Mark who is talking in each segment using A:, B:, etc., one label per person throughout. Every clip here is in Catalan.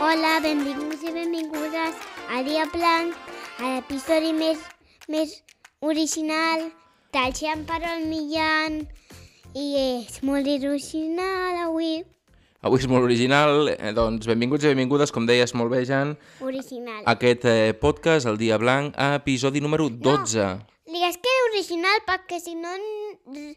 A: Hola, benvinguts i benvingudes a Dia Plan, a l'episodi més, més original del Xan Parol Millan. I és molt original avui.
B: Avui és molt original, eh, doncs benvinguts i benvingudes, com deies molt bé, Jan,
A: Original.
B: a aquest eh, podcast, El Dia Blanc, a episodi número 12.
A: Digues que original perquè si no n-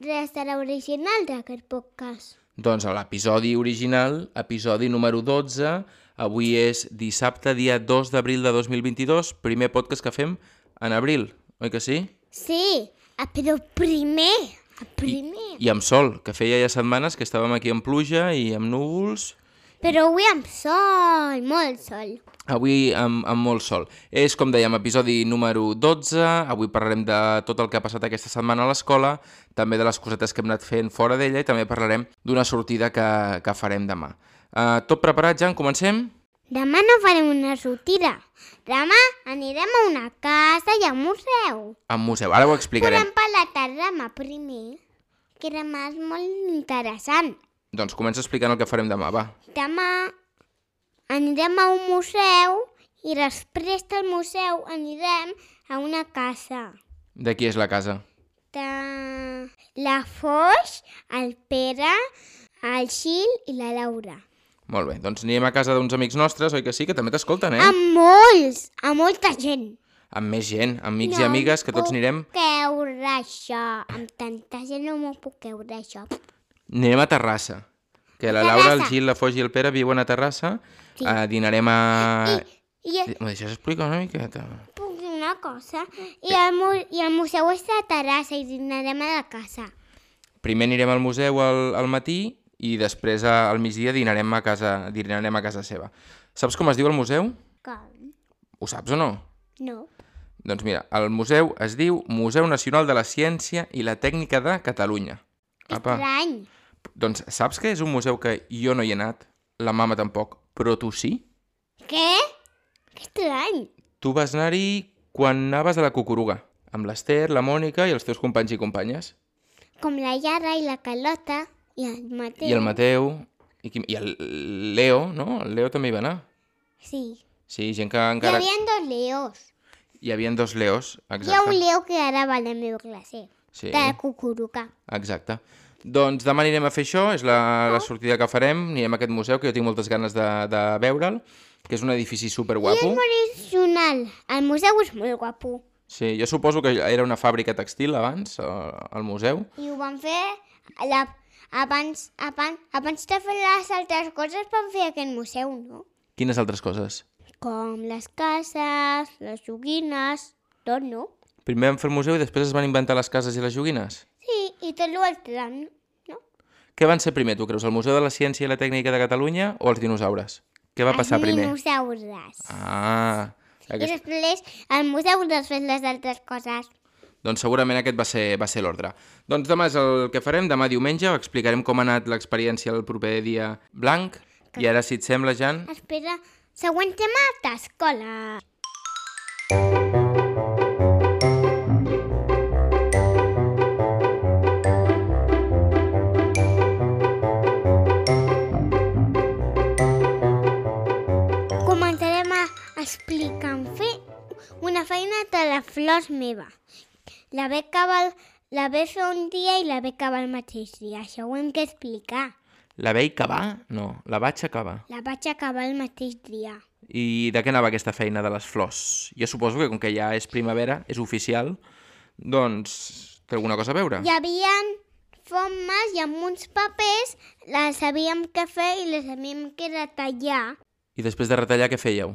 A: res serà original d'aquest podcast.
B: Doncs a l'episodi original, episodi número 12, avui és dissabte, dia 2 d'abril de 2022, primer podcast que fem en abril, oi que sí?
A: Sí, ah, però primer, ah, primer.
B: I amb sol, que feia ja setmanes que estàvem aquí amb pluja i amb núvols,
A: Però avui amb sol, molt sol.
B: Avui amb, amb molt sol. És, com dèiem, episodi número 12. Avui parlarem de tot el que ha passat aquesta setmana a l'escola, també de les cosetes que hem anat fent fora d'ella i també parlarem d'una sortida que, que farem demà. Uh, tot preparat, Jan? Comencem?
A: Demà no farem una sortida. Demà anirem a una casa i a un museu.
B: Al museu. Ara ho
A: Podem
B: explicarem.
A: parlar de demà primer, que demà és molt interessant.
B: Doncs comença explicant el que farem demà, va.
A: Demà anirem a un museu i després del museu anirem a una casa.
B: De qui és la casa?
A: De la Foix, el Pere, el Xil i la Laura.
B: Molt bé, doncs anirem a casa d'uns amics nostres, oi que sí? Que també t'escolten, eh?
A: Amb molts, amb molta gent.
B: Amb més gent, amics
A: No
B: i amigues, que tots
A: puc
B: anirem...
A: creure això. Amb tanta gent no m'ho puc creure, això.
B: Anirem a Terrassa. Que la Laura, el
A: Terrassa.
B: Gil, la Foix i el Pere viuen a Terrassa.
A: Sí.
B: Sí. Uh, dinarem a...
A: I, eh. i
B: M'ho deixes explicar una miqueta?
A: puc dir una cosa? I el, mu I el museu és a Terrassa i dinarem a la casa.
B: Primer anirem al museu al, al matí i després a, al migdia dinarem a, casa, dinarem a casa seva. Saps com es diu el museu?
A: Com?
B: Ho saps o no?
A: No.
B: Doncs mira, el museu es diu Museu Nacional de la Ciència i la Tècnica de Catalunya.
A: Estrany.
B: doncs saps que és un museu que jo no hi he anat, la mama tampoc, però tu sí?
A: Què? Que estrany.
B: Tu vas anar-hi quan anaves a la Cucuruga, amb l'Ester, la Mònica i els teus companys i companyes.
A: Com la Yara i la Carlota i el Mateu.
B: I el Mateu, i, qui, i el Leo, no? El Leo també hi va anar.
A: Sí.
B: Sí, gent que
A: Encara...
B: encara...
A: Hi havia dos leos.
B: Hi havia dos leos,
A: Hi ha un
B: exacte.
A: leo que ara va a la meva classe.
B: Sí,
A: De la cucuruca.
B: exacte. Doncs demà anirem a fer això, és la,
A: Ah.
B: la sortida que farem, anirem a aquest museu, que jo tinc moltes ganes de, de veure'l, que és un edifici superguapo.
A: Original. El museu és molt guapo.
B: Sí, jo suposo que era una fàbrica textil abans, eh, al museu.
A: I ho van fer a la, abans, abans, abans de fer les altres coses van fer aquest museu, no?
B: Quines altres coses?
A: Com les cases, les joguines, tot, no?
B: Primer van fer el museu i després es van inventar les cases i les joguines.
A: Sí, i tot l'altre, no?
B: Què van ser primer, tu creus? El Museu de la Ciència i la Tècnica de Catalunya o els dinosaures? Què va passar
A: Els
B: primer?
A: dinosaures.
B: Ah,
A: I
B: aquest...
A: després el museu després les altres coses.
B: Doncs segurament aquest va ser, va ser l'ordre. Doncs demà és el que farem, demà diumenge, explicarem com ha anat l'experiència el proper dia blanc. I ara, si et sembla, Jan,
A: Espera, següent tema d'escola. Començarem a explicar fer una feina de la flors meva. La Beca val la ve fer un dia i la Beca va el mateix dia. Això ho hem d'explicar.
B: la veig acabar? No, la vaig acabar.
A: La vaig acabar el mateix dia.
B: I de què anava aquesta feina de les flors? Jo suposo que com que ja és primavera, és oficial, doncs té alguna cosa a veure.
A: Hi havia formes i amb uns papers les sabíem què fer i les havíem que retallar
B: I després de retallar, què fèieu?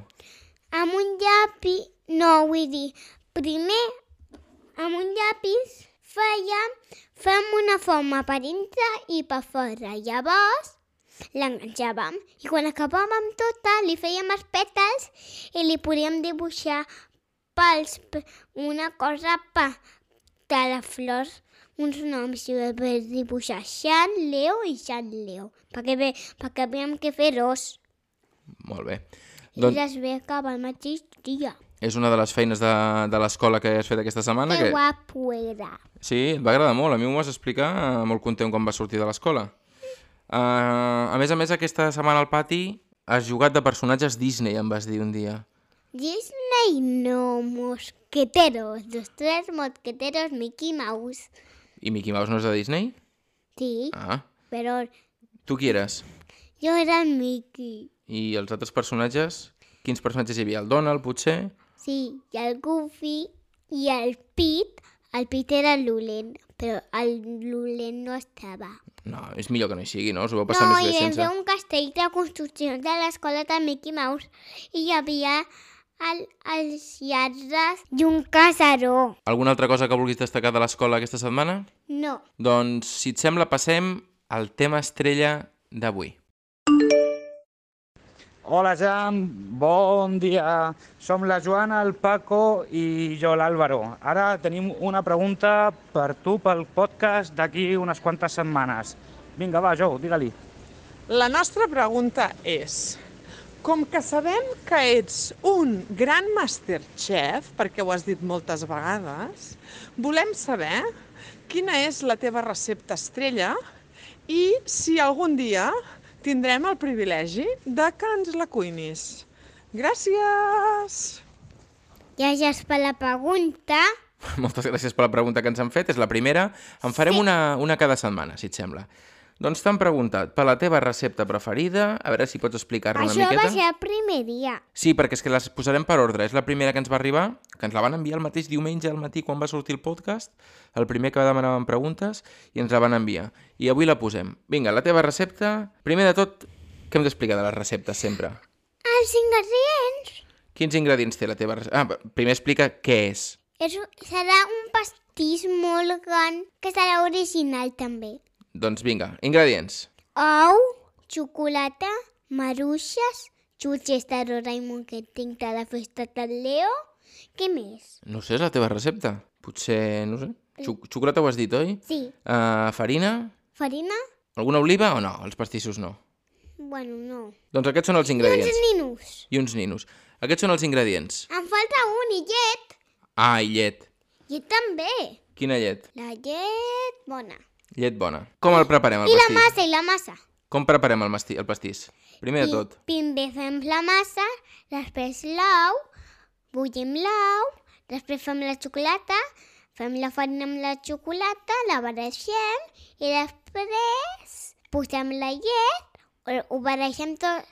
A: amb un llapi, no vull dir, primer amb un llapis fèiem, fèiem una forma per dintre i per fora. Llavors l'enganxàvem i quan acabàvem tota li fèiem els pètals i li podíem dibuixar pels p- una cosa pa, de les flors uns noms i vaig dibuixar Xan Leo i Xan Leo perquè, ve, perquè havíem que fer dos
B: Molt bé.
A: i
B: Doncs
A: les ve acabar el mateix dia.
B: és una de les feines de, de l'escola que has fet aquesta setmana.
A: Que
B: Que...
A: guapo era.
B: Sí, et va agradar molt. A mi m'ho vas explicar eh, molt content quan va sortir de l'escola. Uh, a més a més, aquesta setmana al pati eh, Has jugat de personatges Disney, em vas dir un dia.
A: Disney no, mosqueteros, los tres mosqueteros Mickey Mouse.
B: I Mickey Mouse no és de Disney?
A: Sí,
B: Ah,
A: pero
B: tu qui eres?
A: yo era Mickey.
B: I els altres personatges? Quins personatges hi havia? El Donald, potser?
A: Sí, y el Goofy y el Pete. El Pete era Lulen, pero el Lulen no estaba.
B: No, és millor que no hi sigui, no? Us ho vau passar
A: No,
B: més
A: i
B: bé
A: vam
B: sense...
A: fer un castell de construccions de l'escola de Mickey Mouse i hi havia el, els lladres i un casaró.
B: Alguna altra cosa que vulguis destacar de l'escola aquesta setmana?
A: No,
B: Doncs, si et sembla, passem al tema estrella d'avui.
C: Hola Jan, bon dia. Som la Joana, el Paco i jo l'Àlvaro. Ara tenim una pregunta per tu pel podcast d'aquí unes quantes setmanes. Vinga, va, Jo, digue-li.
D: La nostra pregunta és, com que sabem que ets un gran masterchef, perquè ho has dit moltes vegades, volem saber quina és la teva recepta estrella i si algun dia tindrem el privilegi de que ens la cuinis. Gràcies!
A: gràcies per la pregunta.
B: Moltes gràcies per la pregunta que ens han fet, és la primera. En farem una, una cada setmana, si et sembla. Doncs t'han preguntat per la teva recepta preferida, a veure si pots explicar-la una
A: Això va
B: miqueta.
A: ser el primer dia.
B: Sí, perquè és que les posarem per ordre. És la primera que ens va arribar, que ens la van enviar el mateix diumenge al matí quan va sortir el podcast, el primer que demanàvem preguntes, i ens la van enviar. I avui la posem. Vinga, la teva recepta... Primer de tot, què hem d'explicar de les receptes sempre?
A: Els ingredients
B: Quins ingredients té la teva recepta? Ah, primer explica què és.
A: és, serà un pastís molt gran que serà original també.
B: Doncs vinga, ingredients.
A: Ou, xocolata, maruixes, xutxes de Doraemon que tinc de la festa del Leo. Què més?
B: No ho sé, és la teva recepta. Potser, no ho sé, xo xocolata ho has dit, oi?
A: Sí,
B: Uh, farina?
A: farina?
B: Alguna oliva o no? Els pastissos no.
A: Bueno, no.
B: Doncs aquests són els
A: Uns
B: ingredients.
A: ninos.
B: I uns ninos. Aquests són els ingredients.
A: Em falta un i llet.
B: Ah, i llet.
A: Llet també.
B: Quina llet?
A: La llet bona.
B: Llet bona. Com el preparem, el
A: I la
B: pastís?
A: massa, i la massa.
B: Com preparem el, masti... el pastís? Primer de tot.
A: Primer fem la massa, després l'ou, bullim l'ou, després fem la xocolata, fem la farina amb la xocolata, la barregem i després posem la llet, ho- ho barregem tot,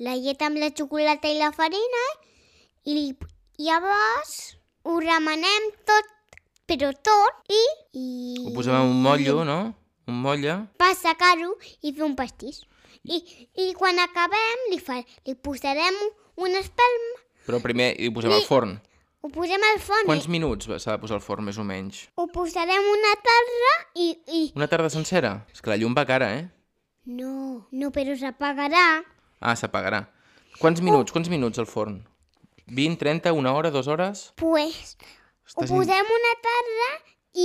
A: la llet amb la xocolata i la farina i li- llavors ho remenem tot, però tot, i... i
B: Ho posem en un motllo, no? Un motlle.
A: per secar-ho i fer un pastís. I, i quan acabem li, fa, li posarem una espelma,
B: Però primer hi posem al forn.
A: ho posem al fons,
B: Quants minuts s'ha de posar al forn, més o menys?
A: ho posarem una tarda i, i...
B: Una tarda sencera? És que la llum va cara, eh?
A: No, no, però s'apagarà.
B: Ah, s'apagarà. Quants minuts? Quants minuts al forn? 20, 30, una hora, dues hores?
A: Pues, ho
B: Estàs in-
A: posem una tarda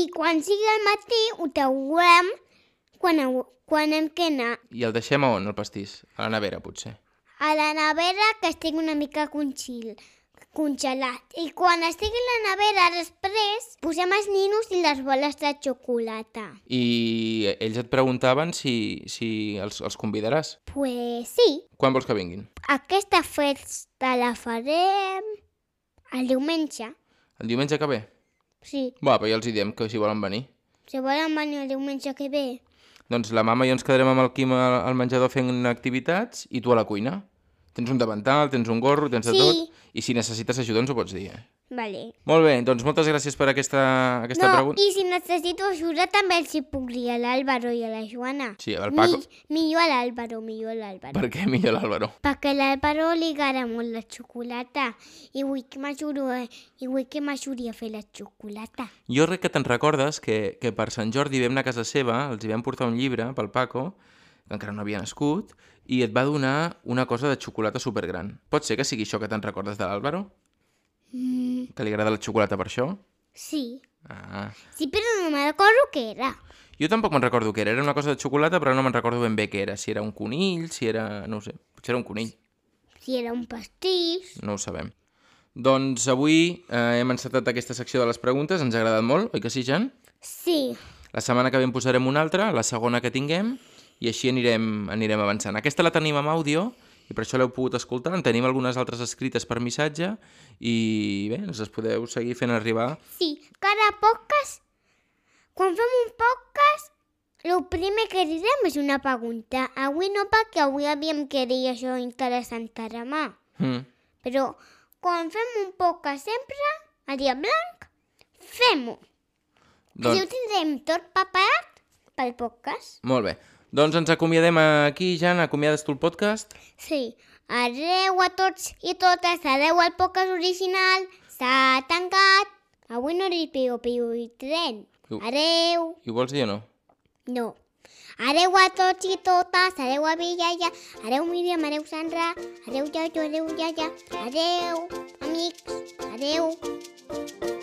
A: i quan sigui al matí ho traurem quan, heu- quan hem quedat
B: I el deixem a on, el pastís? A la nevera, potser.
A: a la nevera que estigui una mica conxil, congelat. I quan estigui a la nevera després posem els ninos i les boles de xocolata.
B: I ells et preguntaven si, si els, els convidaràs.
A: Pues sí,
B: Quan vols que vinguin?
A: aquesta festa la farem el diumenge.
B: El diumenge que ve?
A: Sí,
B: Va, però ja els hi diem que si volen venir.
A: si volen venir el diumenge que ve.
B: Doncs la mama i jo ens quedarem amb el Quim al al menjador fent activitats i tu a la cuina. Tens un davantal, tens un gorro, tens de
A: Sí.
B: tot. I si necessites ajuda ens ho pots dir. Eh?
A: Vale.
B: Molt bé, doncs moltes gràcies per aquesta, aquesta
A: no,
B: pregunta.
A: i si necessito ajuda també els hi puc dir a l'Àlvaro i a la Joana.
B: Sí, el Paco.
A: Mi, millor a l'Àlvaro, millor a l'Àlvaro.
B: Per què millor l'Àlvaro?
A: Perquè l'Àlvaro li agrada molt la xocolata i vull que m'ajudi, i vull que m'ajudi a fer la xocolata.
B: Jo crec que te'n recordes que, que per Sant Jordi vam anar a casa seva, els hi vam portar un llibre pel Paco, que encara no havia nascut, i et va donar una cosa de xocolata supergran. Pot ser que sigui això que te'n recordes de l'Àlvaro?
A: Mm,
B: Que li agrada la xocolata per això?
A: sí.
B: Ah.
A: Sí, però no me'n recordo què era.
B: Jo tampoc me'n recordo què era. Era una cosa de xocolata, però no me'n recordo ben bé què era. Si era un conill, si era... no ho sé. Potser era un conill,
A: Si era un pastís.
B: no ho sabem. Doncs avui eh, hem encetat aquesta secció de les preguntes, ens ha agradat molt, oi que sí, Jan?
A: Sí.
B: La setmana que ve en posarem una altra, la segona que tinguem, i així anirem, anirem avançant. Aquesta la tenim amb àudio i per això l'heu pogut escoltar. En tenim algunes altres escrites per missatge i bé, ens les podeu seguir fent arribar.
A: Sí, cada podcast, quan fem un podcast, el primer que direm és una pregunta. Avui no perquè avui havíem que dir això interessant per demà.
B: Mm.
A: Però quan fem un podcast sempre, a dia blanc, fem-ho. Doncs... Així ho
B: Doncs,
A: tindrem tot preparat pel podcast.
B: molt bé. Doncs ens acomiadem aquí, Jan. Acomiades tu el podcast?
A: Sí, adeu a tots i totes, adeu al podcast original, s'ha tancat. Avui no dic piu, piu i tren.
B: Tu.
A: Adeu.
B: I ho vols dir o no?
A: No. Adeu a tots i totes, adeu a Villaia, adeu Míriam, adeu Sandra, adeu Jojo, adeu Iaia, adeu amics, adeu.